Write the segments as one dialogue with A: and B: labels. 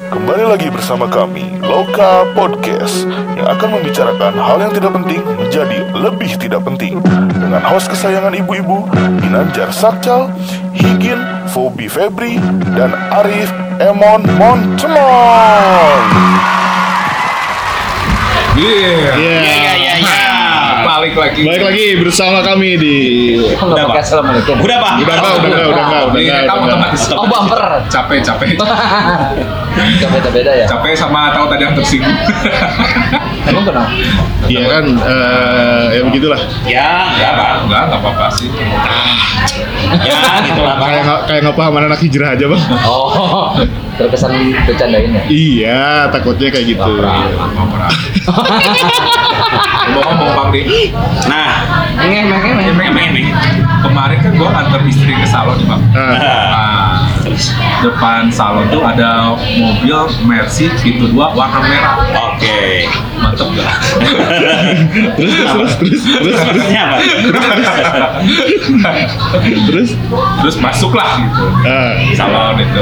A: Kembali lagi bersama kami, Loka Podcast, yang akan membicarakan hal yang tidak penting menjadi lebih tidak penting. Dengan host kesayangan ibu-ibu, Ginanjar Sakcal, Higin, Fobi Febri, dan Arif Emon Montemon.
B: Iya.
C: Iya, iya, iya.
B: Nah, Balik lagi.
C: Baik lagi bersama kami di
D: Udah pakai assalamualaikum.
E: Udah pak.
C: Udah enggak, udah enggak, udah enggak, udah
B: Ini
C: enggak.
B: Iya, kamu
C: udah enggak.
B: otomatis
D: Oh bumper.
B: capek capek
D: Gak beda-beda ya.
B: capek sama tahu tadi yang tersinggung.
D: Emang kenapa?
C: Iya kan eh ya begitulah.
E: Ya, ya pak.
B: Enggak, enggak apa-apa sih.
D: Nah.
E: Ya, gitu lah pak.
C: Kayak nggak- kayak enggak paham anak hijrah aja, Bang.
D: Oh, terkesan bercandain ya.
C: Iya, takutnya kayak gitu.
B: Mau perang. Bohong bohong Bang Di.
E: Nah,
B: eh,
D: Mengeh, mengeh, mengeh.
E: emang emang.
B: Kemarin kan gua antar istri ke salon nih, Bang.
C: Nah,
B: Nah, depan salon tuh ada mobil Mercy pintu dua warna merah.
E: Oke.
B: Mantep gak?
C: terus terus terus terus terus
E: Terusnya apa?
C: terus.
B: Terus masuklah gitu.
C: Nah,
B: salon itu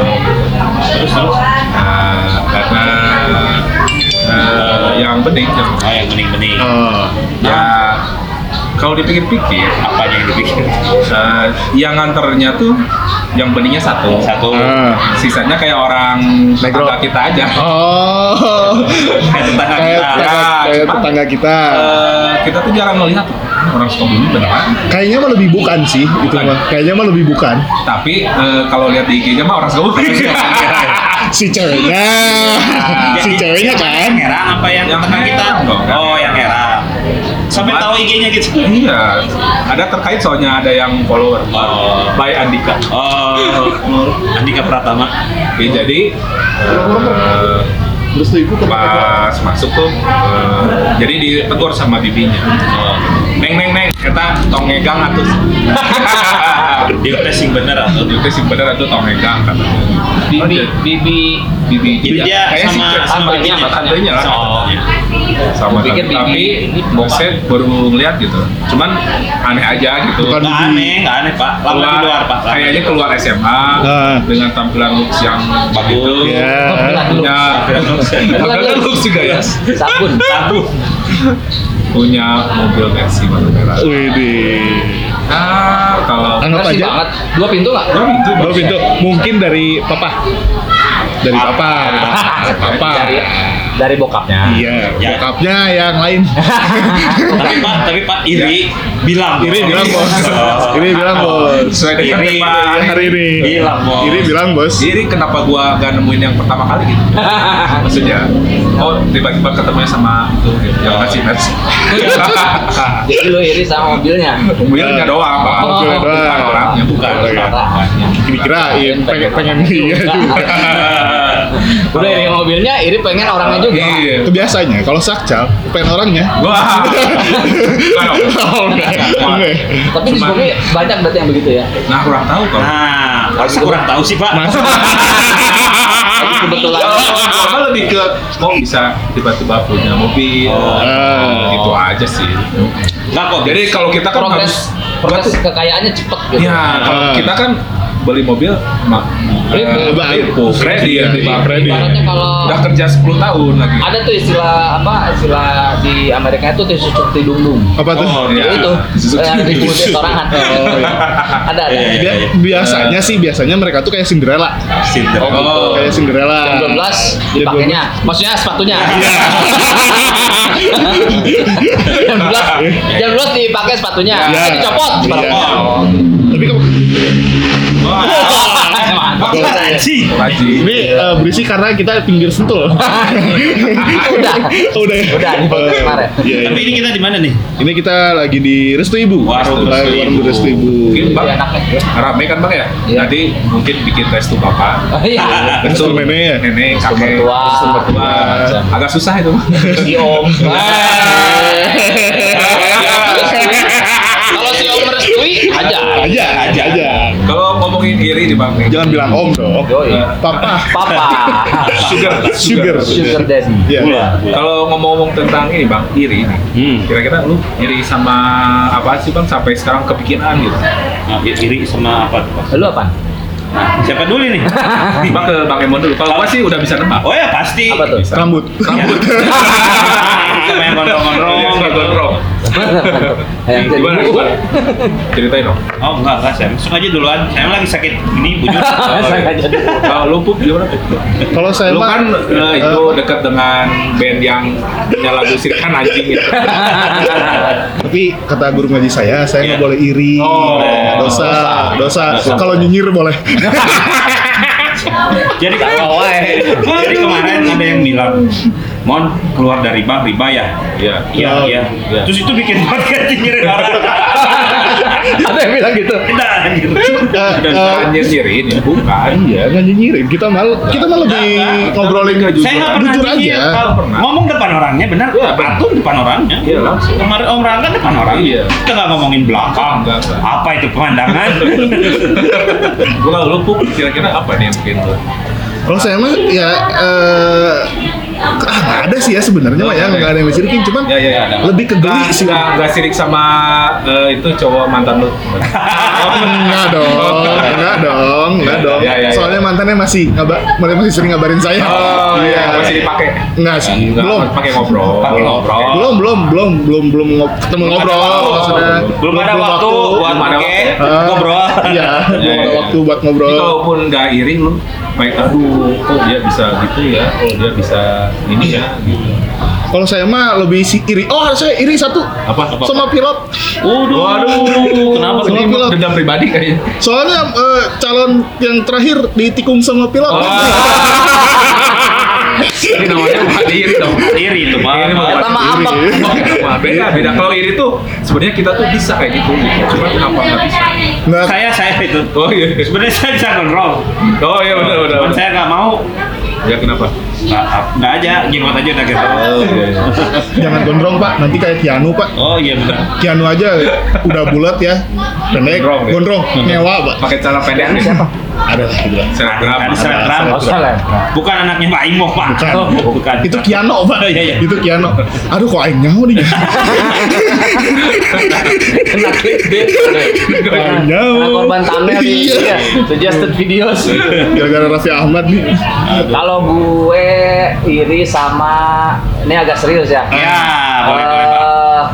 B: terus terus nah, karena eh, yang penting yang,
E: Oh yang bening-bening.
C: oh,
B: ya kalau dipikir-pikir
E: Apa yang dipikir?
B: eh, yang nganternya tuh yang beningnya satu
E: Satu.
C: ah.
B: sisanya kayak orang
C: Negro.
B: tetangga kita aja
C: Oh.
E: Kayak tetangga
C: Kayak
E: kita.
C: tetangga, kayak
B: Cepat.
C: tetangga kita.
B: Eh, kita tuh jarang ngelihat orang Sukabumi beneran
C: Kayaknya mah lebih bukan sih itu
B: Bukan.
C: mah. Kayaknya mah lebih bukan.
B: tapi eh, kalau lihat di IG-nya mah orang Sukabumi
E: Iya,
C: Si ceweknya. Iya. Si
E: Jadi,
C: ceweknya
E: siapa
C: kan.
E: Yang herang apa yang
B: Yang
E: teman kita?
B: herang dong. kan?
E: Oh yang herang. Sampai
B: Cuman-
E: tahu IG-nya gitu.
B: iya ada terkait soalnya ada yang follower
E: Oh.
B: by Andika
E: Oh, Andika Pratama.
B: Ya, jadi eh,
C: Terus tuh ibu
B: pas masuk tuh eh, jadi ditegur sama bibinya. Oh, Neng neng neng, kita tongegang atau
E: Dia testing bener atau?
B: itu sih bener atau tongegang katanya.
D: Bibi, bibi.
B: Bibi,
E: Jadi
B: iya,
E: dia
B: kayaknya
E: sama
B: sih sama
D: tantenya,
B: sama tantenya lah.
E: Oh,
B: Sama
D: Pikir
B: tante. tapi
D: bibi- ini
B: boset baru ngeliat gitu. Cuman aneh aja gitu.
C: Bukan
E: Nggak aneh, nggak aneh pak. Lama di
B: Keluar-
E: luar pak. Lama
B: Kayaknya
E: di luar.
B: keluar SMA
C: Ah.
B: dengan tampilan looks yang
E: Bagus.
B: begitu.
C: Ya.
D: Kebelah dulu.
B: Punya tampilan looks juga ya.
D: Sabun.
E: Satu.
B: Punya mobil Mercy warna merah.
C: Widih.
B: Ah, kalau
C: Anggap
D: Kasih
C: aja.
D: banget. Dua pintu nggak?
B: Gua pintu,
C: Dua pintu. Mungkin dari papa. Dari papa. Papa.
D: Dari dari bokapnya.
C: Iya.
E: Ya.
C: Bokapnya yang lain.
E: tapi pak, tapi pak Iya. iri bilang.
C: Iri bilang bos.
E: Oh.
C: Iri bilang bos.
B: sesuai dengan
E: Iri.
B: tema
C: Hari ini.
E: Bilang bos.
C: Iri bilang bos.
B: Iri kenapa gua gak nemuin yang pertama kali gitu maksudnya oh tiba-tiba ketemunya sama itu yang kasih match
D: Jadi lu iri sama mobilnya.
B: mobilnya doang pak
D: Oh, mobilnya
B: bukan
C: doang.
B: orangnya
E: Bukan.
C: Oke. Dikirain pengen pengen dia juga.
D: Udah iri sama mobilnya, iri pengen orangnya juga.
B: Iya.
C: Kebiasaannya kalau sakcal pengen orangnya.
B: wah
C: Oh, enggak. Enggak.
D: Tapi di
B: Cuman-
D: Sukabumi banyak berarti yang begitu ya.
B: nah kurang tahu kalau
E: Nah, harus kurang tahu sih pak.
C: Mas. Ah,
D: Tapi kebetulan.
B: iya. Apa lebih ke kok bisa tiba-tiba punya mobil
E: Oh.
C: Ah.
B: gitu aja sih
E: Nggak kok.
B: jadi kalau kita kan
D: progres
B: harus
D: progres kekayaannya cepet gitu.
B: Iya, kalau
C: Ah.
B: kita kan beli mobil mak
D: Ribet.
B: ribu kredit
C: Iya,
B: Bang.
C: kredit.
D: Ibaratnya kalau
B: udah kerja 10 tahun lagi
D: ada tuh istilah apa istilah di Amerika itu tusuk tidung dung.
C: Apa tuh?
B: Oh,
D: Ya,
B: iya.
D: itu
B: Susuk
D: yang di
B: tidung.
D: mulut sorangan.
C: Oh, iya.
D: ada ada.
E: Iya, iya.
C: Dia biasanya sih biasanya mereka tuh kayak Cinderella.
E: Cinderella.
B: Oh.
C: Kayak Cinderella.
D: Jam 12 dipakainya. Maksudnya sepatunya. jam 12 jam 12 dipakai sepatunya.
C: Iya.
D: Eh, dicopot.
C: Iya.
D: Dicopot.
C: Tapi kamu
D: Mantap.
C: Boleh.
E: Laci.
B: Wajib.
C: ini
D: Iya.
C: eh, berisi karena kita pinggir sentul.
D: Udah.
C: Udah. ya?
D: Udah, di podcast
C: Eh,
D: kemarin.
C: Iya.
E: Tapi
C: iya.
E: ini kita di mana nih?
C: Ini kita lagi di Restu Ibu.
E: Warung Restu
C: Warung
E: Ibu.
C: Restu Ibu.
B: Mungkin
D: Jadi
B: Bang
D: anaknya.
B: rame kan bang ya
D: Iya.
B: nanti mungkin bikin restu bapak
D: Oh, iya.
C: Restu nenek ya.
B: nenek
D: Restu
B: kakek
D: mertua.
B: restu mertua.
D: Iya, Macam.
B: agak susah itu Bang.
D: Si Om. Kalau si Om merestui aja.
C: Aja, aja, aja.
B: kalau ngomongin iri nih bang nih. Eh,
C: Jangan bilang om dong.
D: Yoi.
C: Papa.
D: Papa.
B: sugar
C: Sugar.
D: Sugar daddy.
C: Iya.
B: kalau ngomong-ngomong tentang ini bang iri nih
E: Hmm.
B: kira-kira lu iri sama
C: Ah.
B: apa sih bang sampai sekarang kepikiran gitu
E: Nah, iri sama apa tuh pak?
D: Lu apa?
E: Siapa dulu nih?
B: Bang ke Bang Emon dulu. Kalau gua sih udah bisa nebak.
E: Oh ya pasti.
D: Apa tuh?
C: Rambut.
B: Rambut.
E: Itu main gondrong-gondrong
B: Nggak
E: gitu.
B: Iya, gondrong.
D: Yang jadi
B: Gimana?
D: bu.
B: gimana? Ceritain dong.
E: Oh enggak, enggak Sam. Masuk aja duluan. Saya lagi sakit ini bujur.
D: Saya nggak jadi.
B: Kalau lu pup gimana? Pup?
E: Iya.
C: Kalau saya
B: Lu
C: mah,
B: kan eh,
C: eh,
B: itu dekat dengan band yang punya lagu Sirkan Anjing gitu.
C: tapi kata guru ngaji saya, saya nggak
E: Iya.
C: boleh iri.
B: Oh,
C: dosa, dosa.
E: Dosa.
C: Kalau nyinyir boleh.
E: Jadi Jadi kemarin ada yang bilang, Mon keluar dari riba, riba ya.
B: Iya.
E: Iya,
C: Oh.
E: iya.
B: Iya.
E: Terus itu bikin podcast nyinyirin orang.
D: Ada yang bilang gitu.
E: Tidak, anjir.
C: Eh,
B: Dan
C: eh,
B: bukan nyinyirin ya, bukan.
C: Iya, nggak nyinyirin. Kita malah kita malah lebih ngobrolin
B: Nggak jujur.
E: Saya Iya. nggak pernah
C: Jujur
E: nyinyir.
C: aja.
E: Kalau
B: Pernah.
E: Ngomong depan orangnya, benar.
B: Iya, benar.
E: Atun depan orangnya.
B: Iya, langsung.
E: Kemarin Om Rangga depan orangnya.
B: Iya.
E: Kita nggak ngomongin belakang.
B: Nggak, nggak.
E: Apa itu pemandangan?
B: Gua kalau lu pup kira-kira apa nih yang bikin lu?
C: Kalau saya mah ya eh ah, nggak ada sih ya sebenarnya mah ya nggak ada yang mencirikin cuman
B: Ya ya ya. ada.
C: lebih ke geli
B: Nggak-
C: sih.
B: Nggak nggak sirik sama eh, itu cowok mantan lu.
C: Oh,
B: ya.
C: Enggak dong, enggak dong, enggak
B: Iya,
C: dong.
B: iya, iya, iya.
C: Soalnya mantannya masih ngaba- masih sering ngabarin saya.
B: Oh iya, masih dipakai.
C: Enggak sih,
B: Nggak,
C: belum.
B: Pakai ngobrol.
E: Pakai ngobrol.
C: Belum, belum, belum, belum, belum ngob- ketemu ngobrol maksudnya.
E: Belum ada waktu buat
B: Belum ada
E: pakai
B: waktu.
C: Ah,
E: ngobrol.
C: Iya, belum ada waktu buat ngobrol.
B: Jadi kalaupun nggak iri lu, kayak aduh kok dia bisa gitu ya, oh dia bisa ini ya gitu.
C: Kalau saya mah lebih si iri. Oh, saya iri satu.
B: Apa? Apa?
C: Sama pilot.
E: Waduh. Kenapa?
C: Sama
B: Ini
C: pilot.
B: Dendam pribadi kayaknya.
C: Soalnya eh, calon yang terakhir ditikung sama pilot.
B: Oh. Ini namanya bukan iri dong.
E: Iri itu, Pak.
C: Iya,
B: Iri bukan
D: Sama
B: iri.
D: apa?
B: Wah, beda beda kalau iri tuh sebenarnya kita tuh bisa kayak gitu gitu. Cuma kenapa nggak bisa?
C: Nah,
E: Saya saya itu.
B: Oh iya.
E: Sebenarnya saya bisa kontrol.
B: Oh iya benar benar.
E: Cuman saya nggak mau.
B: Ya kenapa?
E: Nggak nggak aja, jenggot aja udah gitu.
B: Oh iya. iya.
C: jangan gondrong, Pak. Nanti kayak Kianu, Pak.
E: Oh iya benar.
C: Kianu aja udah bulat ya. Pendek,
B: Gondrong, ya?
C: gondrong, nyewa, Pak.
B: Pakai cara pendek nih. Siapa?
C: Ada lah gitu lah.
B: Selebgram.
E: Ada selebgram.
D: Oh, salah.
E: Bukan anaknya Pak Imo, Pak.
C: Bukan.
E: Oh, bukan.
C: Kan? Itu Kiano, Pak.
E: Iya, iya.
C: Itu Kiano. Aduh, kok aing nyaho nih.
D: Kena clickbait.
C: Aing
D: Kena
C: nyaho.
D: Iya. korban thumbnail di
C: Iya.
D: iya, suggested videos.
C: Gara-gara Raffi Ahmad nih.
D: Kalau gue iri sama ini agak serius ya.
E: Ya, boleh boleh, Pak.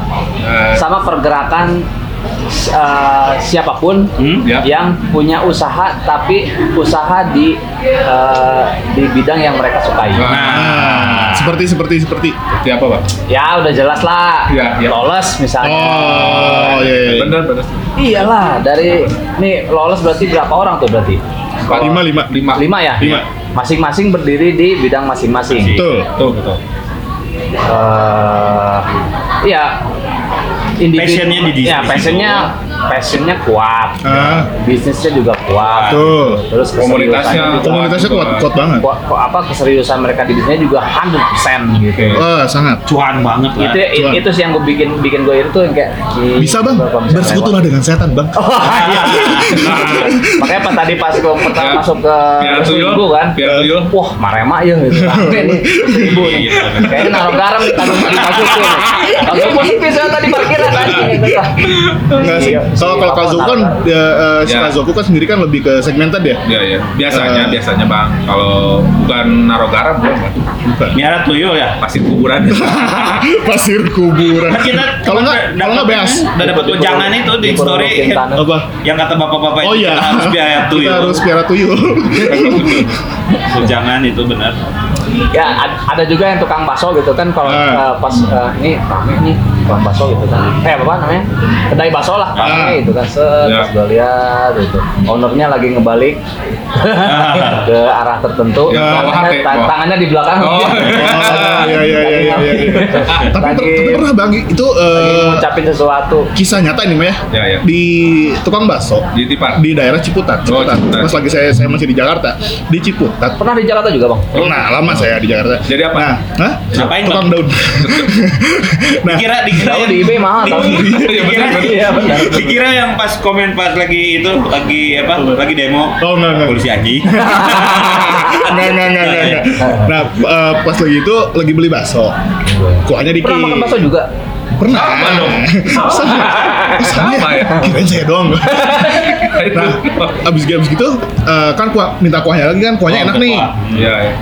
D: Eh, sama pergerakan eh, siapapun
E: Hmm,
B: ya.
D: yang punya usaha tapi usaha di eh, di bidang yang mereka sukai.
B: Ah.
C: Nah, seperti seperti seperti.
B: Seperti apa pak?
D: Ya udah jelas lah.
B: Ya, ya.
D: Lolos misalnya.
C: Oh, iya. iya.
B: Benar benar.
D: Iyalah dari nih lolos berarti berapa orang tuh berarti?
C: Lima, lima.
B: lima
D: Lima ya?
C: Lima.
D: Masing-masing berdiri di bidang masing-masing.
C: Betul.
B: Betul betul.
D: eh ya individu-
E: Passionnya di bisnis
D: ya passionnya passionnya kuat
C: Ah,
D: bisnisnya juga kuat
C: Tuh.
D: terus
B: Komunitasnya.
D: keseriusannya juga-
C: komunitasnya kuat, kuat banget.
D: ku- ku- apa keseriusan mereka di bisnisnya juga 100% gitu
B: Oke.
C: Wah, Eh, sangat.
E: Cuan banget lah.
D: itu i-
C: Cuan.
D: itu sih yang gue bikin bikin gue itu yang kayak gila,
C: Bisa bang,
D: kalau misalnya
C: bersekutulah dengan setan bang.
D: lewat. Oh, iya. makanya pas tadi pas gue pertama
B: Ya.
D: masuk ke
B: Piala tuyul
D: Minggu kan
B: Piala tuyul. Iya,
D: wah marema ya gitu rame nih ibu nih kayaknya naruh garam di tangan di kazuku nih kazuku sepi soalnya kan tadi parkiran tadi gitu lah
C: Enggak sih. Kalau kalau Kazoku kan, ya, eh, si
B: Ya.
C: Kazoku kan sendiri kan lebih ke segmented ya.
B: Iya ya. Biasanya
C: Eh.
B: biasanya bang kalau bukan naruh garam bukan Bang.
E: Miara tuyul ya.
B: pasir kuburan.
C: Pasir kuburan.
E: Kan kita
C: Kalau nggak, kalau nggak beas.
E: Udah dapat wejangan itu di
D: Di
E: story
D: Purwokin Tanah.
C: Apa?
E: yang kata bapak-bapak
C: Oh
E: itu
C: iya.
E: kita harus biaya tuyul.
C: Kita harus piara tuyul.
E: Wejangan itu benar.
D: ya ad- ada juga yang tukang bakso gitu kan kalau
C: Ah.
D: eh, pas eh, ini rame nih tukang bakso gitu kan eh apa namanya kedai bakso lah
C: Ah.
D: rame gitu kan set
B: Ya.
D: terus gue lihat gitu ownernya lagi ngebalik
C: Ah.
D: ke arah tertentu
B: Ya,
D: tangannya,
B: bawah hati,
D: ta-
B: bawah.
D: tangannya di belakang
B: Oh.
C: Oh, iya iya iya iya. iya. Tapi, per-
D: Lagi-
C: tapi pernah bang itu
D: lagi
C: eh,
D: ngucapin sesuatu
C: kisah nyata ini mah ya.
B: Ya, ya.
C: Di tukang bakso
B: Di tipan.
C: di daerah Ciputat.
B: Oh,
C: Ciputat.
B: Ciputat.
C: Pas lagi saya saya masih di Jakarta di Ciputat.
D: pernah di Jakarta juga bang
C: Nah, lama saya di Jakarta.
B: Jadi apa?
C: Nah, hah?
E: Ngapain,
C: Tukang
E: Bang?
C: daun. nah,
E: Dikira dikira
D: Tahu
E: yang-
D: di eBay mahal, tahu.
B: Iya,
E: Dikira
B: benar,
D: benar.
E: benar. Dikira yang pas komen pas lagi itu lagi apa? Lagi demo.
C: Oh, enggak, enggak.
E: Polisi Aji.
C: Enggak, enggak, enggak, enggak, enggak. Nah, eh, pas lagi itu lagi beli bakso. Kuahnya dikit.
D: pernah makan bakso juga
C: Pernah.
B: Sama dong.
C: Sama. Sama.
B: Sama ya?
C: Kirain saya doang. Nah, abis abis gitu eh, kan kuah minta kuahnya lagi kan kuahnya enak nih.
B: Iya, iya.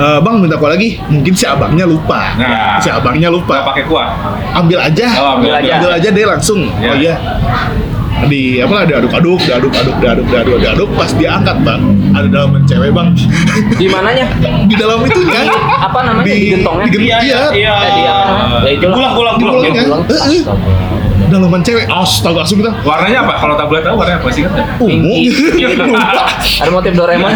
C: Eh, bang minta kuah lagi, mungkin si abangnya lupa.
B: Nah.
C: si abangnya
B: Nggak
C: lupa.
B: pakai kuah.
C: Ambil aja.
B: Oh, ambil aja.
C: Ambil aja deh langsung.
B: Ya.
C: Oh iya. Di apa lah diaduk-aduk, diaduk-aduk, diaduk-aduk, diaduk-aduk. Pas diangkat bang, ada dalam cewek bang.
D: Di mananya?
C: di dalam itunya.
D: Apa namanya? Di gentongnya?
C: Di gentong, iya.
E: iya.
D: Eh, di apa? Ya itulah.
E: Pulang, pulang,
C: Di
E: pulang.
C: mulut kan?
D: pulang.
C: Eh, eh. Dalaman cewek. Astaga, langsung kita
B: Warnanya apa? Kalau tak boleh tahu warnanya apa sih kan?
C: ungu.
D: Pinky.
C: Uh, Lupa.
D: Ada motif Doraemon.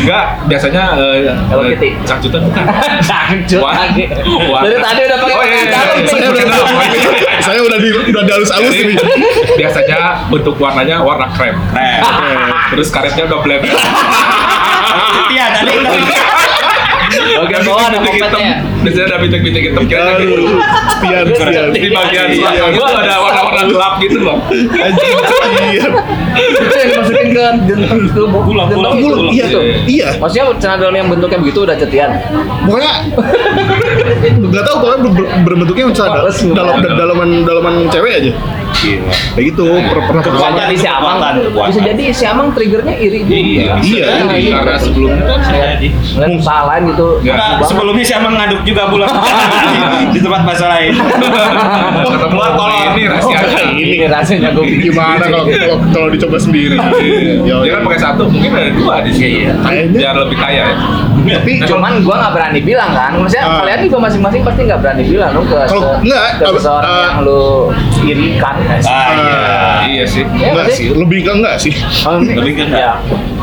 B: Enggak, biasanya eh,
D: Hello
B: eh,
D: Kitty.
B: cangcutan bukan.
D: Sangcut
B: Wah.
D: lagi.
B: Wah.
D: Dari tadi udah pakai
B: Oh, iya,
D: pakai
B: iya, iya.
D: dalam. Pink.
C: Saya udah saya udah di udah dihalus-halus
B: Jadi,
C: ini.
B: biasanya bentuk warnanya warna krem.
E: Eh,
B: Terus karetnya udah blend.
E: Iya, tadi itu.
D: Oke, bawah ada
B: Bitik-bitik hitam.
D: kopetnya.
B: Biasanya ada bintik-bintik hitam. Kira-kira gitu.
C: Aduh, Tian, Tian.
B: Di bagian belakang itu Iya. ada warna-warna gelap gitu loh.
C: Anjing, Tian.
D: Itu yang dimasukin ke gentong itu. Bu.
E: Pulang,
D: Gentong
E: pulang,
D: itu.
E: pulang.
C: Iya,
D: Itu.
C: iya.
D: Maksudnya celana dalam yang bentuknya begitu udah cetian.
C: Pokoknya nggak tahu pokoknya ber- berbentuknya misalnya
D: Males,
C: dal- dalam
B: males.
C: dalaman dalaman cewek aja.
E: Gila.
C: Kayak gitu, per- pernah
E: Kekuatan
C: pengalaman.
E: di si Amang.
D: Bisa jadi si Amang triggernya iri juga.
B: Iya,
C: Iya,
B: bisa jadi.
D: iya.
B: karena sebelumnya kan saya
E: Jadi.
D: Ngeliat kesalahan gitu.
B: Nggak,
E: Nah,
D: Bang.
E: sebelumnya saya mengaduk juga pulang di tempat bahasa lain.
B: ketemu
C: Iya.
B: kalau ini kan. rahasianya.
D: Ini rasanya gue bikin
C: Oh, Gimana kalau kalau kalau dicoba sendiri? Iya.
B: Dia kan pakai satu, mungkin ada dua di sini.
E: Iya, iya.
C: Kayaknya. Iya.
B: Biar lebih kaya ya.
C: Tapi
D: Nah, cuman gua nggak berani bilang kan maksudnya
C: Ah.
D: kalian juga masing-masing pasti nggak berani bilang lu ke
C: Kalau
D: se-
C: nggak,
D: ke
C: apa-
D: seseorang
C: ah.
D: yang lu irikan kan sih?
E: Ah, iya.
B: Iya sih.
D: Iya
C: enggak
D: nggak
C: sih, lebih ke enggak sih.
D: Oh, ini-
E: Lebih ke nggak.
D: ya,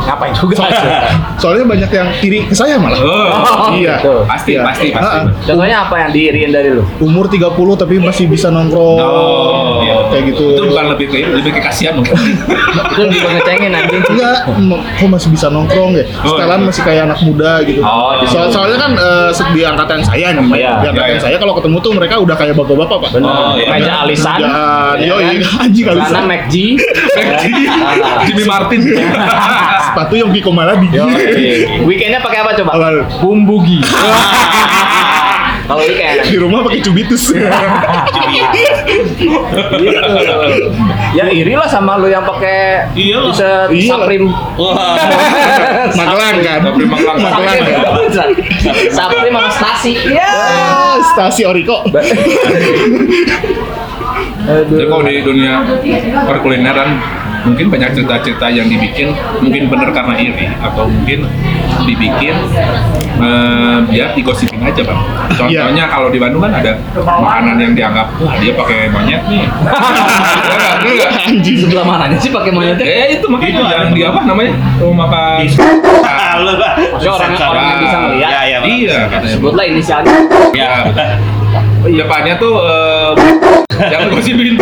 D: ngapain juga sih?
C: Soalnya banyak yang iri ke saya malah.
B: Oh,
C: Iya.
D: gitu.
B: pasti,
C: Iya.
B: pasti, pasti.
C: Ah,
D: contohnya apa yang diiriin dari lu
C: Umur 30 tapi masih bisa nongkrong.
B: iya.
C: Kayak gitu.
B: Itu bukan lebih ke lebih ke kasihan mungkin.
D: itu juga ngecengin anjing
C: Enggak, m- kok masih bisa nongkrong ya?
B: Oh,
C: Setelan
B: iya.
C: masih kayak anak muda gitu.
B: Oh, iya.
C: Soal- soalnya kan eh, se- di angkatan saya nih,
D: Iya,
C: di angkatan
B: iya, iya.
C: saya kalau ketemu tuh mereka udah kayak bapak-bapak pak.
D: benar
B: Oh, iya.
D: meja alisan
C: Jangan,
D: ya
C: yoi,
D: kan?
C: anjing kali
D: celana
C: sana.
D: McG Ah.
C: Nah.
B: Jimmy Martin.
C: Iya.
B: Iya.
C: Sepatu yang Kiko Maladi.
D: weekendnya pakai apa coba
C: Apa?
D: bumbugi kalau weekend
C: Di rumah pakai cubitus. Iya.
D: gitu. ya iri lah sama lu yang pakai
E: Iyalah.
D: t-shirt
C: Iyalah.
D: Saprim
E: Wah,
C: Magelang kan?
B: Saprim Magelang.
C: Magelang.
B: ya?
C: ya?
D: Saprim. Saprim sama Stasi. Iya.
C: Ah, Stasi Oriko.
B: Jadi kalau di dunia perkulineran mungkin banyak cerita-cerita yang dibikin mungkin bener karena iri atau mungkin dibikin eh, biar digosipin aja bang. Contohnya kalau di Bandung kan ada makanan yang dianggap wah dia pakai monyet nih. Iya nggak? Bener nggak?
D: Anjing sebelah mananya sih pakai monyetnya?
B: Eh itu makanya
E: Itu ada
B: yang di apa namanya? Tuh makan.
E: lu lah.
D: Maksudnya orang- orang yang bisa ngeliat.
E: Iya, iya. Pak.
B: Iya katanya.
D: Sebutlah inisialnya.
B: Iya. Depannya tuh eh, yang gosipin.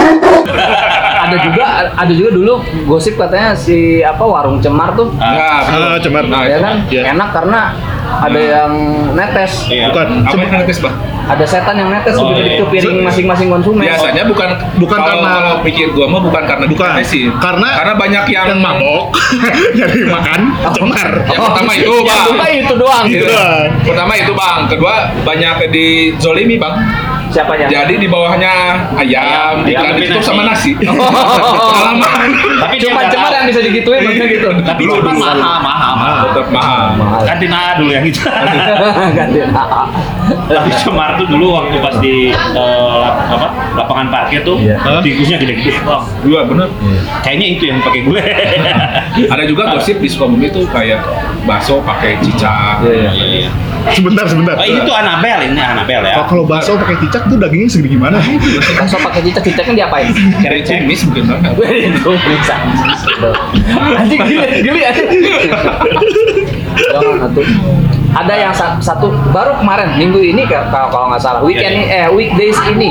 D: Ada juga ada juga dulu gosip katanya si apa warung cemar tuh.
E: Ah,
B: betul.
C: Ah, cemar.
B: Nah,
D: ya kan
C: iya.
D: enak karena ada yang netes.
E: Iya.
C: Bukan.
B: Apa yang netes, Bang?
D: Ada setan yang netes
E: Oh,
D: begitu
E: iya.
D: ke piring masing-masing konsumen.
B: Biasanya bukan
C: Bukan
B: kalau-
C: karena-
B: kalau pikir gua mah bukan karena
C: Bukan.
B: ditetesin.
C: Karena-
B: karena banyak yang,
C: Yang mabok, nyari makan, cemar.
B: Yang pertama itu,
D: Yang
B: Bang.
D: suka Iya, itu doang.
C: Gitu doang.
B: Iya. Pertama itu, Bang. Kedua, banyak di zolimi, Bang.
D: Siapanya?
B: Jadi di bawahnya Ya. ayam,
E: Ayam,
B: ikan
E: tapi
B: ditutup
E: nasi.
B: sama nasi. Oh. Salaman.
E: Tapi dia
D: Cuma
E: nggak
D: cemar
E: tahu.
D: yang bisa digituin maksudnya gitu.
E: Tapi
B: Dulu,
E: cemar
B: dulu.
E: mahal, mahal, mahal.
B: Tetap mahal.
E: Kantin AA dulu yang itu.
D: Iya. Gantiin AA.
E: Tapi cemar tuh dulu waktu pas di eh, lap- apa lapangan parkir tuh tikusnya Iya. gede-gede. Wah,
B: Dua, Iya, bener.
E: kayaknya itu yang pakai gue.
B: Ada juga gosip di Sukabumi itu kayak bakso pakai cicak.
D: Iya,
E: Iya, iya.
C: Sebentar, sebentar.
E: Oh, ini tuh Anabel, ini Anabel ya.
C: Kalau- Kalau bakso pakai cicak tuh dagingnya segede gimana?
D: Bakso pakai cicak, cicaknya diapain?
B: Cari cemis mungkin Bang.
D: Itu bisa. Anjing geli, geli anjing. Jangan atuh. Ada yang sa- satu baru kemarin minggu ini ka- kalau kalau nggak salah weekend ini-
E: Iya,
D: eh weekdays ini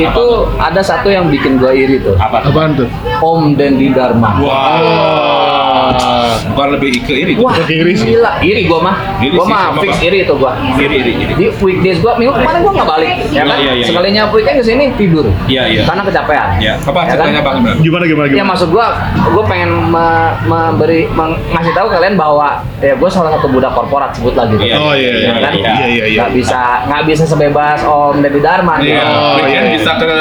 D: itu ada satu yang bikin gua iri tuh.
E: Apa? tuh?
C: Apaan tuh?
D: Om Dendi Dharma.
B: Wah. Bukan lebih ke iri.
D: Wah,
C: Gua iri sih.
D: gila, iri gua mah.
B: Iri
D: Gua
B: sih,
D: mah
B: sama
D: fix
B: Bang.
D: iri itu gua.
B: Iri, iri, iri.
D: Di weekdays gua minggu kemarin gua nggak balik, ya kan?
E: Iya, iya, iya.
D: Sekalinya weekend ke sini tidur.
E: Iya, iya.
D: Karena kecapean.
E: Ya.
B: Apa
D: Ya kan?
B: ceritanya Bang Imran?
C: Gimana gimana
D: Ya
C: gimana?
D: maksud gua, gua pengen me- memberi meng- ngasih tahu kalian bahwa ya gua salah satu budak korporat sebut lagi.
E: Iya.
C: Oh iya iya
D: Kan?
C: iya iya iya.
D: Nggak bisa nggak bisa sebebas Om Deddy Dharma.
B: Iya,
D: gitu.
C: Oh,
B: weekend
C: iya, iya.
B: bisa ke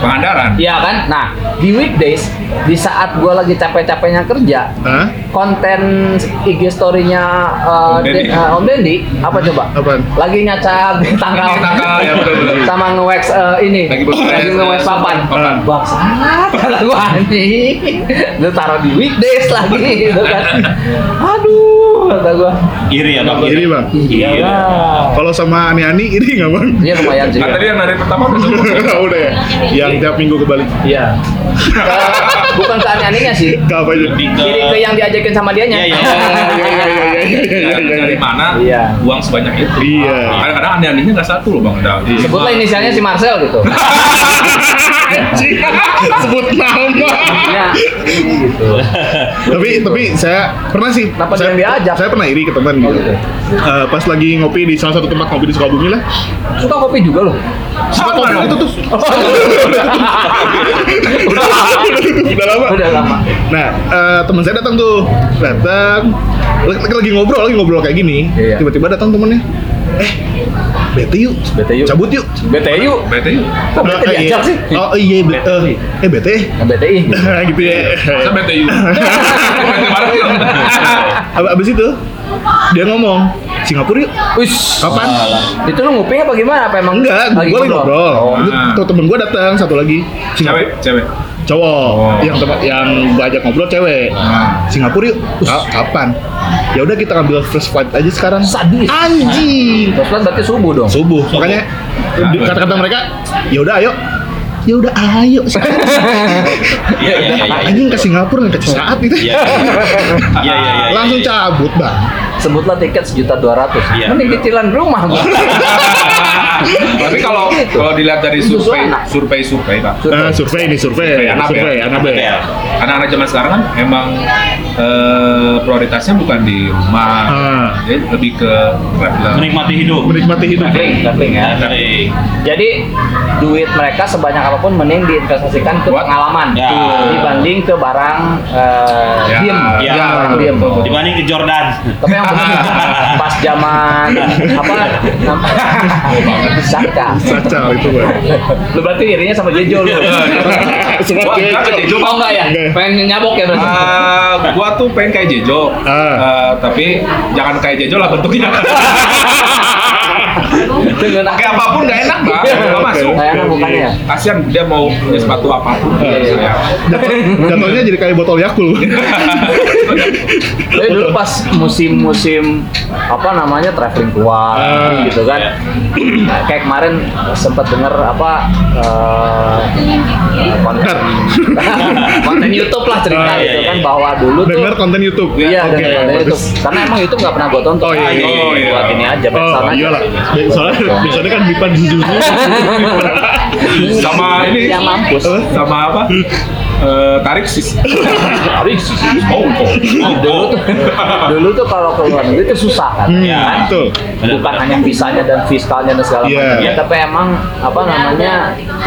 B: Pangandaran.
D: Iya kan? Nah, di weekdays, di saat gue lagi capek-capeknya kerja,
C: Hah?
D: konten IG story-nya uh,
E: Om
D: De-
E: Deddy.
D: uh, Om Dendi, apa coba?
C: Apaan?
D: Lagi nyacat tanggal,
B: Ini tanggal, ya, betul-betul.
D: sama nge-wax uh, ini,
B: Lagi berproses.
D: lagi nge-wax papan.
B: Papan.
D: Bangsat, kata gue anjing. Lu taruh di weekdays lagi, gitu kan? Aduh, kata gue.
E: Iri ya bang.
C: Iri, Bang.
E: Iya.
C: Kalau sama Ani-Ani ini nggak bang?
D: Iya lumayan sih.
B: Nah, tadi yang dari pertama udah semua.
C: Udah ya? Yang tiap minggu ke Bali
D: Iya. Ke- Bukan ke aneh-anehnya sih.
C: Ke apa aja?
E: Lebih
D: Kiri ke yang diajakin sama dianya.
E: Iya, iya.
C: iya, iya,
B: Dari
C: iya.
B: mana
D: Iya.
B: uang sebanyak itu?
C: Iya.
B: Kadang-kadang aneh-anehnya nggak satu loh bang Daud.
D: Sebutlah inisialnya si Marcel gitu.
C: Anjing, sebut nama.
D: Iya. Ini gitu.
C: tapi tapi saya pernah sih.
D: Kenapa
C: saya,
D: dia yang diajak?
C: Saya pernah iri ke teman
D: Oh,
C: gitu.
D: gitu.
C: Eh, pas lagi ngopi di salah satu tempat ngopi di Sukabumi lah.
D: Suka kopi juga loh.
C: Suka
B: Sama
C: kopi
B: dong.
C: itu tuh. Udah lama, udah lama.
D: Udah lama.
C: Nah, eh, teman saya datang tuh, datang lagi, lagi ngobrol, lagi ngobrol kayak gini.
D: Iya.
C: Tiba-tiba datang temennya. Eh, bete yuk,
D: Bete yuk.
C: cabut yuk.
D: BTU.
B: BTU.
D: Kok BT
C: Eh,
D: diajak
C: iya.
D: sih?
C: Oh iya, be- eh, eh bete.
D: Nah, BTI. gitu.
C: gitu ya.
B: Saya BTU. Kemarin yuk.
C: Ab- Abis itu dia ngomong Singapura yuk.
D: Ush.
C: Kapan?
D: Itu lu nguping apa gimana? Apa emang
C: Enggak, gue lagi ngobrol.
D: Oh.
C: Itu
B: Ah.
C: tuh temen gue datang satu lagi.
B: Cewek,
C: Singapura.
B: cewek.
C: Cowok yang tem- yang gue ajak ngobrol cewek. Singapura yuk. Ka- Kapan? Ya udah kita ambil first flight aja sekarang.
D: Sadis.
C: Anjing.
D: Terus kan berarti subuh dong.
C: Subuh. Makanya
B: Nah,
C: di- kata-kata mereka, ya udah ayo. Ya udah ayo.
E: Iya iya iya. iya.
C: Anjing ke Singapura nggak kasih saat gitu.
E: Iya iya iya. iya, iya.
C: Langsung cabut, Bang.
D: Sebutlah tiket sejuta dua ratus.
E: Iya.
D: Mending cicilan rumah gua.
B: Tapi kalau kalau dilihat dari
D: Itu
B: survei
D: anak.
B: survei survei lah.
C: Nah, survei nih, survei.
B: Survei Anabel.
C: Survei Anabel.
E: Iya.
B: anak-anak zaman sekarang kan emang eh, prioritasnya bukan di rumah
C: Ah.
B: jadi lebih ke traveler
E: Menikmati hidup.
C: Menikmati hidup.
D: Traveling, traveling ya.
E: Menikmati.
D: Jadi duit mereka sebanyak apapun mending diinvestasikan ke
B: Buat-
D: pengalaman
E: Ya.
D: dibanding ke barang eh,
B: Ya.
D: diem,
E: Ya.
D: barang diem.
E: Dibanding ke Jordan.
D: Tapi yang benar pas zaman apa namanya Saka.
C: Sacal itu, Bang.
D: Lu berarti irinya sama Jejo lu.
B: iya.
C: Semua
B: Wah,
C: cewek.
B: kenapa Jejo?
D: Oh enggak ya?
C: Enggak.
D: Pengen nyabok ya berarti.
B: Eh, gua tuh pengen kayak Jejo,
C: Ah.
B: Eh, tapi jangan kayak Jejo lah bentuknya.
D: Dengan
B: Pakai apapun nggak enak bang,
C: Iya.
B: nggak masuk.
D: Kayak enak bukannya ya?
B: Kasian dia mau punya sepatu apapun.
D: Iya, iya.
C: Jatuhnya jadi kayak botol Yakul.
D: Tapi dulu pas musim-musim apa namanya traveling keluar
C: Ah,
D: gitu kan. Kayak kemarin sempat dengar apa eh, konten konten YouTube lah cerita
C: Ah,
E: iya,
D: gitu
E: iya,
D: kan
E: iya.
D: bahwa dulu tuh
C: Dengar konten YouTube.
D: Iya,
C: oke.
D: dengar konten
C: bagus.
D: YouTube. Karena emang YouTube nggak pernah gue tonton.
C: Oh, iya,
D: Ah,
C: iya,
D: jadi
B: iya.
D: Buat ini aja, backsound
C: Oh,
D: aja.
C: iyalah. Be- Soalnya biasanya kan dipan di sini.
B: Sama ini.
D: Ya mampus.
B: Sama apa? Eh, tarik sis.
D: Tapi
B: Oh, oh,
D: dulu tuh, dulu tuh kalau keluar negeri itu susah kan.
C: Hmm,
D: ya kan?
C: betul.
D: Bukan hanya visanya dan fiskalnya dan segala
C: Iya.
D: macamnya, tapi emang apa namanya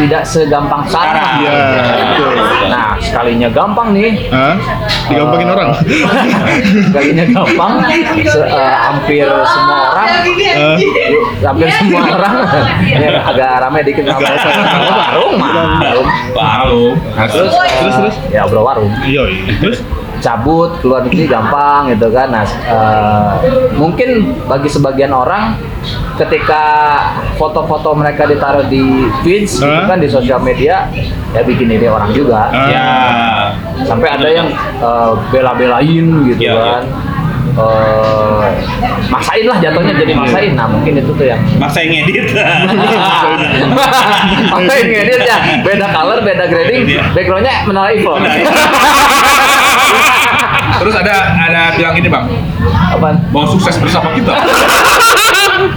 D: tidak segampang sekarang.
E: Sekarang.
C: Iya, betul.
D: Nah, sekalinya gampang nih.
C: Hah? Digampangin orang.
D: sekalinya gampang. se- eh, hampir semua orang,
C: Eh,
D: hampir semua orang. Ini agak ramai dikit nggak apa-apa. Warung mah. Warung.
B: Halo.
D: Terus, eh, ya bro warung.
C: Iya, iya. terus
D: cabut ke luar negeri gampang gitu kan. Nah, s- eh, mungkin bagi sebagian orang ketika foto-foto mereka ditaruh di feeds gitu
C: Hah?
D: kan di sosial media ya bikin iri orang juga.
C: Ah.
E: Ya.
D: Sampai ada yang eh, bela-belain gitu
E: Iya,
D: kan. Eh, maksain lah jatuhnya jadi maksain. Nah, mungkin itu tuh yang
E: Maksa yang ngedit.
D: Maksain ngedit ya, beda color, beda grading,
E: Iya.
D: backgroundnya menara Eiffel.
B: Terus ada ada bilang ini bang,
D: Apaan?
B: mau sukses bersama kita.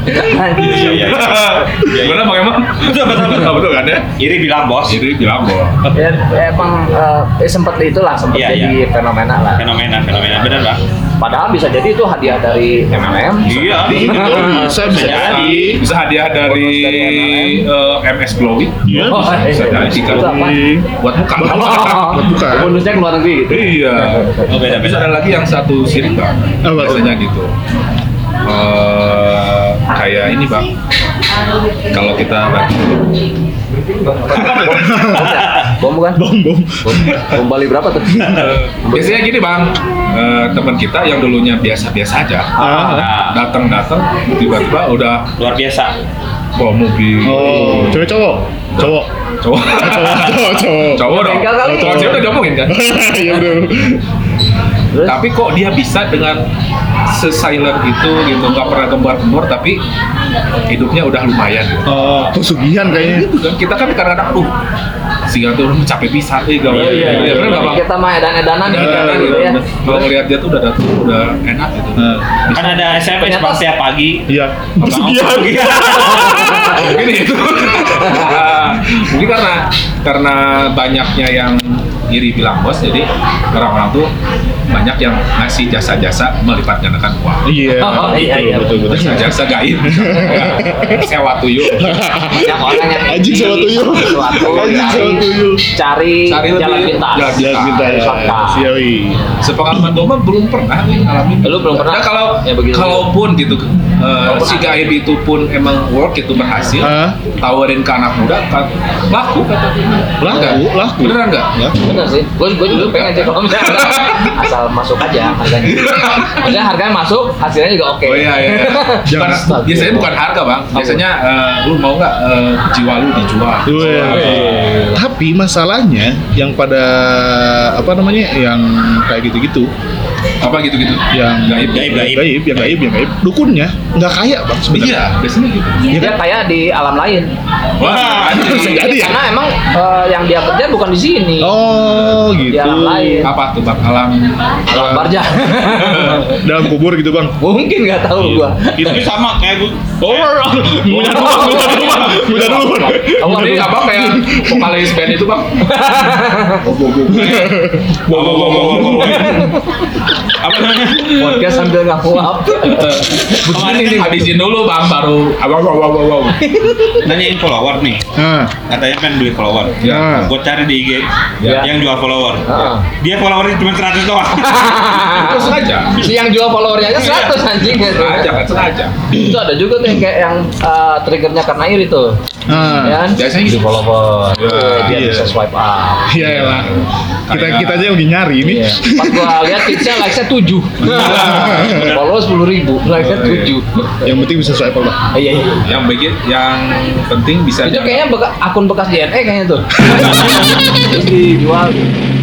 E: Iya iya. iya.
B: Gimana bang emang? Betul betul betul betul kan ya?
E: Iri bilang bos.
B: Jadi bilang bahwa
D: ya emang eh, sempat itulah sempat
E: Iya,
D: jadi fenomena lah
E: Fenomena fenomena benar pak.
D: padahal bisa jadi itu hadiah dari MLM
E: Iya.
C: Oh, bisa bisa jadi.
B: bisa hadiah dari eh, MS Glowy
C: Iya,
D: Oh,
C: bisa.
D: eh,
B: bisa jadi.
D: itu apa?
B: buat buka.
C: bukan.
D: bonusnya ke luar negeri gitu
B: Iya.
E: Oh beda Oh,
B: Terus
E: beda.
B: ada lagi yang satu sirik bang,
C: Apa?
B: biasanya gitu. Eh, kayak ini bang, kalau kita bagi
D: Bom, ya? bom bukan?
C: Bom, bom.
D: Bom, bom Bali berapa tuh?
B: Eh, Biasanya gini bang, eh, teman kita yang dulunya biasa-biasa aja,
C: Ah.
E: Nah,
B: datang-datang tiba-tiba udah
E: luar biasa.
B: bawa mobil.
C: Oh, cewek cowok. Cowok.
B: Cowok.
C: Cowok, cowok, cowok.
B: Cowok dong.
D: Bengkel kali.
B: Kalau cewek udah diomongin kan.
C: Iya bener.
D: Terus?
B: tapi kok dia bisa dengan sesilen itu gitu nggak pernah gembar-gembor tapi hidupnya udah lumayan gitu.
C: Oh, pesugihan kayaknya.
B: Gitu kan kita kan kadang-kadang aduh si tuh capek pisan eh gak
E: Iya, iya,
B: ya
E: iya.
B: bener nggak bang
D: Kita mah edan-edanan
B: Ada
D: gitu
B: ada gitu
D: ya.
B: kalau ngelihat dia tuh udah datang udah enak gitu
C: Nah,
E: Kan ada SMS
D: Ternyata-
E: pas tiap pagi.
C: Iya.
E: Oh,
C: Pesugihan.
E: gitu. iya.
B: mungkin itu Ah, mungkin karena karena banyaknya yang iri bilang bos jadi orang-orang tuh banyak yang ngasih jasa-jasa melipat gandakan uang
C: Iya.
D: Oh, iya, iya.
C: Betul, betul, betul.
B: jasa-jasa gaib sewa tuyul
D: Banyak orang yang
C: Anjing sewa tuyul.
D: Sesuatu,
C: Anjing sewa
D: cari-
C: tuyul.
D: Cari
B: Cari lebih-
D: jalan pintas. Nah,
B: jalan
C: Jelas kita ya.
D: Fakta.
C: Siawi.
B: sepengalaman gue mah belum pernah nih ngalamin
D: Lu belum pernah?
B: Nah, kalau
D: Ya, begitu.
B: kalaupun gitu eh, si gaib itu pun emang work itu berhasil
C: Hah?
B: tawarin ke anak muda kan laku kata dia.
C: Laku,
B: Enggak?
C: laku.
B: beneran nggak
C: Ya.
D: Bener sih, gue gue juga pengen aja kalau misalnya asal masuk aja harganya. Maksudnya harganya masuk, hasilnya juga oke.
B: Oh iya iya. iya.
C: Jangan
B: Bukan-
C: start.
B: biasanya bukan harga bang. Biasanya eh, lu mau nggak eh, jiwa lu dijual?
C: Iya. Tapi masalahnya yang pada apa namanya yang kayak gitu-gitu
B: Apa gitu-gitu?
C: Yang-
B: gaib.
E: Gaib, gaib.
C: gaib yang gaib yang gaib dukunnya nggak kaya bang sebenarnya kan?
B: Iya, biasanya gitu.
C: Iya,
D: Dia kan kayak di alam lain.
B: Wah,
C: Bisa
B: anjing.
C: jadi. ya?
D: Karena emang eh, yang dia kerja bukan di sini.
C: oh
D: Di
C: gitu
B: Uh.
D: alam lain.
B: apa tuh bang alam? Eh,
D: Alam barja.
C: dalam kubur gitu bang
D: Mungkin nggak tahu gua.
E: Tapi sama kayak gue.
B: Oh,
C: Mudah dulu, mudah dulu, Bang. mudah dulu. Bang.
B: Kamu ini apa kayak vokalis band itu bang?
E: Wow, wow, wow, wow, wow, wow. Apa namanya?
D: Podcast sambil ngapuap.
B: Begini nih habisin dulu bang baru. Wow wow wow wow. wow.
E: Nanyain follower nih.
C: Nah,
E: Katanya pengen beli follower.
C: nah.
E: Gue cari di IG
B: iya.
D: Ya.
E: yang jual follower.
D: Heeh.
E: Dia followernya cuma 100 doang.
B: Itu sengaja.
D: Si yang jual followernya aja 100 anjing
B: Sengaja kan sengaja.
D: Itu ada juga tuh yang kayak yang eh, triggernya karena iri tuh.
C: Nah,
D: Ya kan?
B: Biasanya gitu.
D: Di follower. Dia
C: iya.
D: bisa swipe up.
C: iya lah. Kita kita aja yang lagi nyari ini.
D: Iya. Pas gua lihat tipsnya like-nya 7. Follow 10 ribu, like-nya 7.
C: Yang penting bisa swipe up, Bang.
D: Iya, iya.
B: Yang bikin yang penting bisa
D: Itu
B: jaga.
D: kayaknya beka- akun bekas DNA kayaknya tuh. Terus dijual.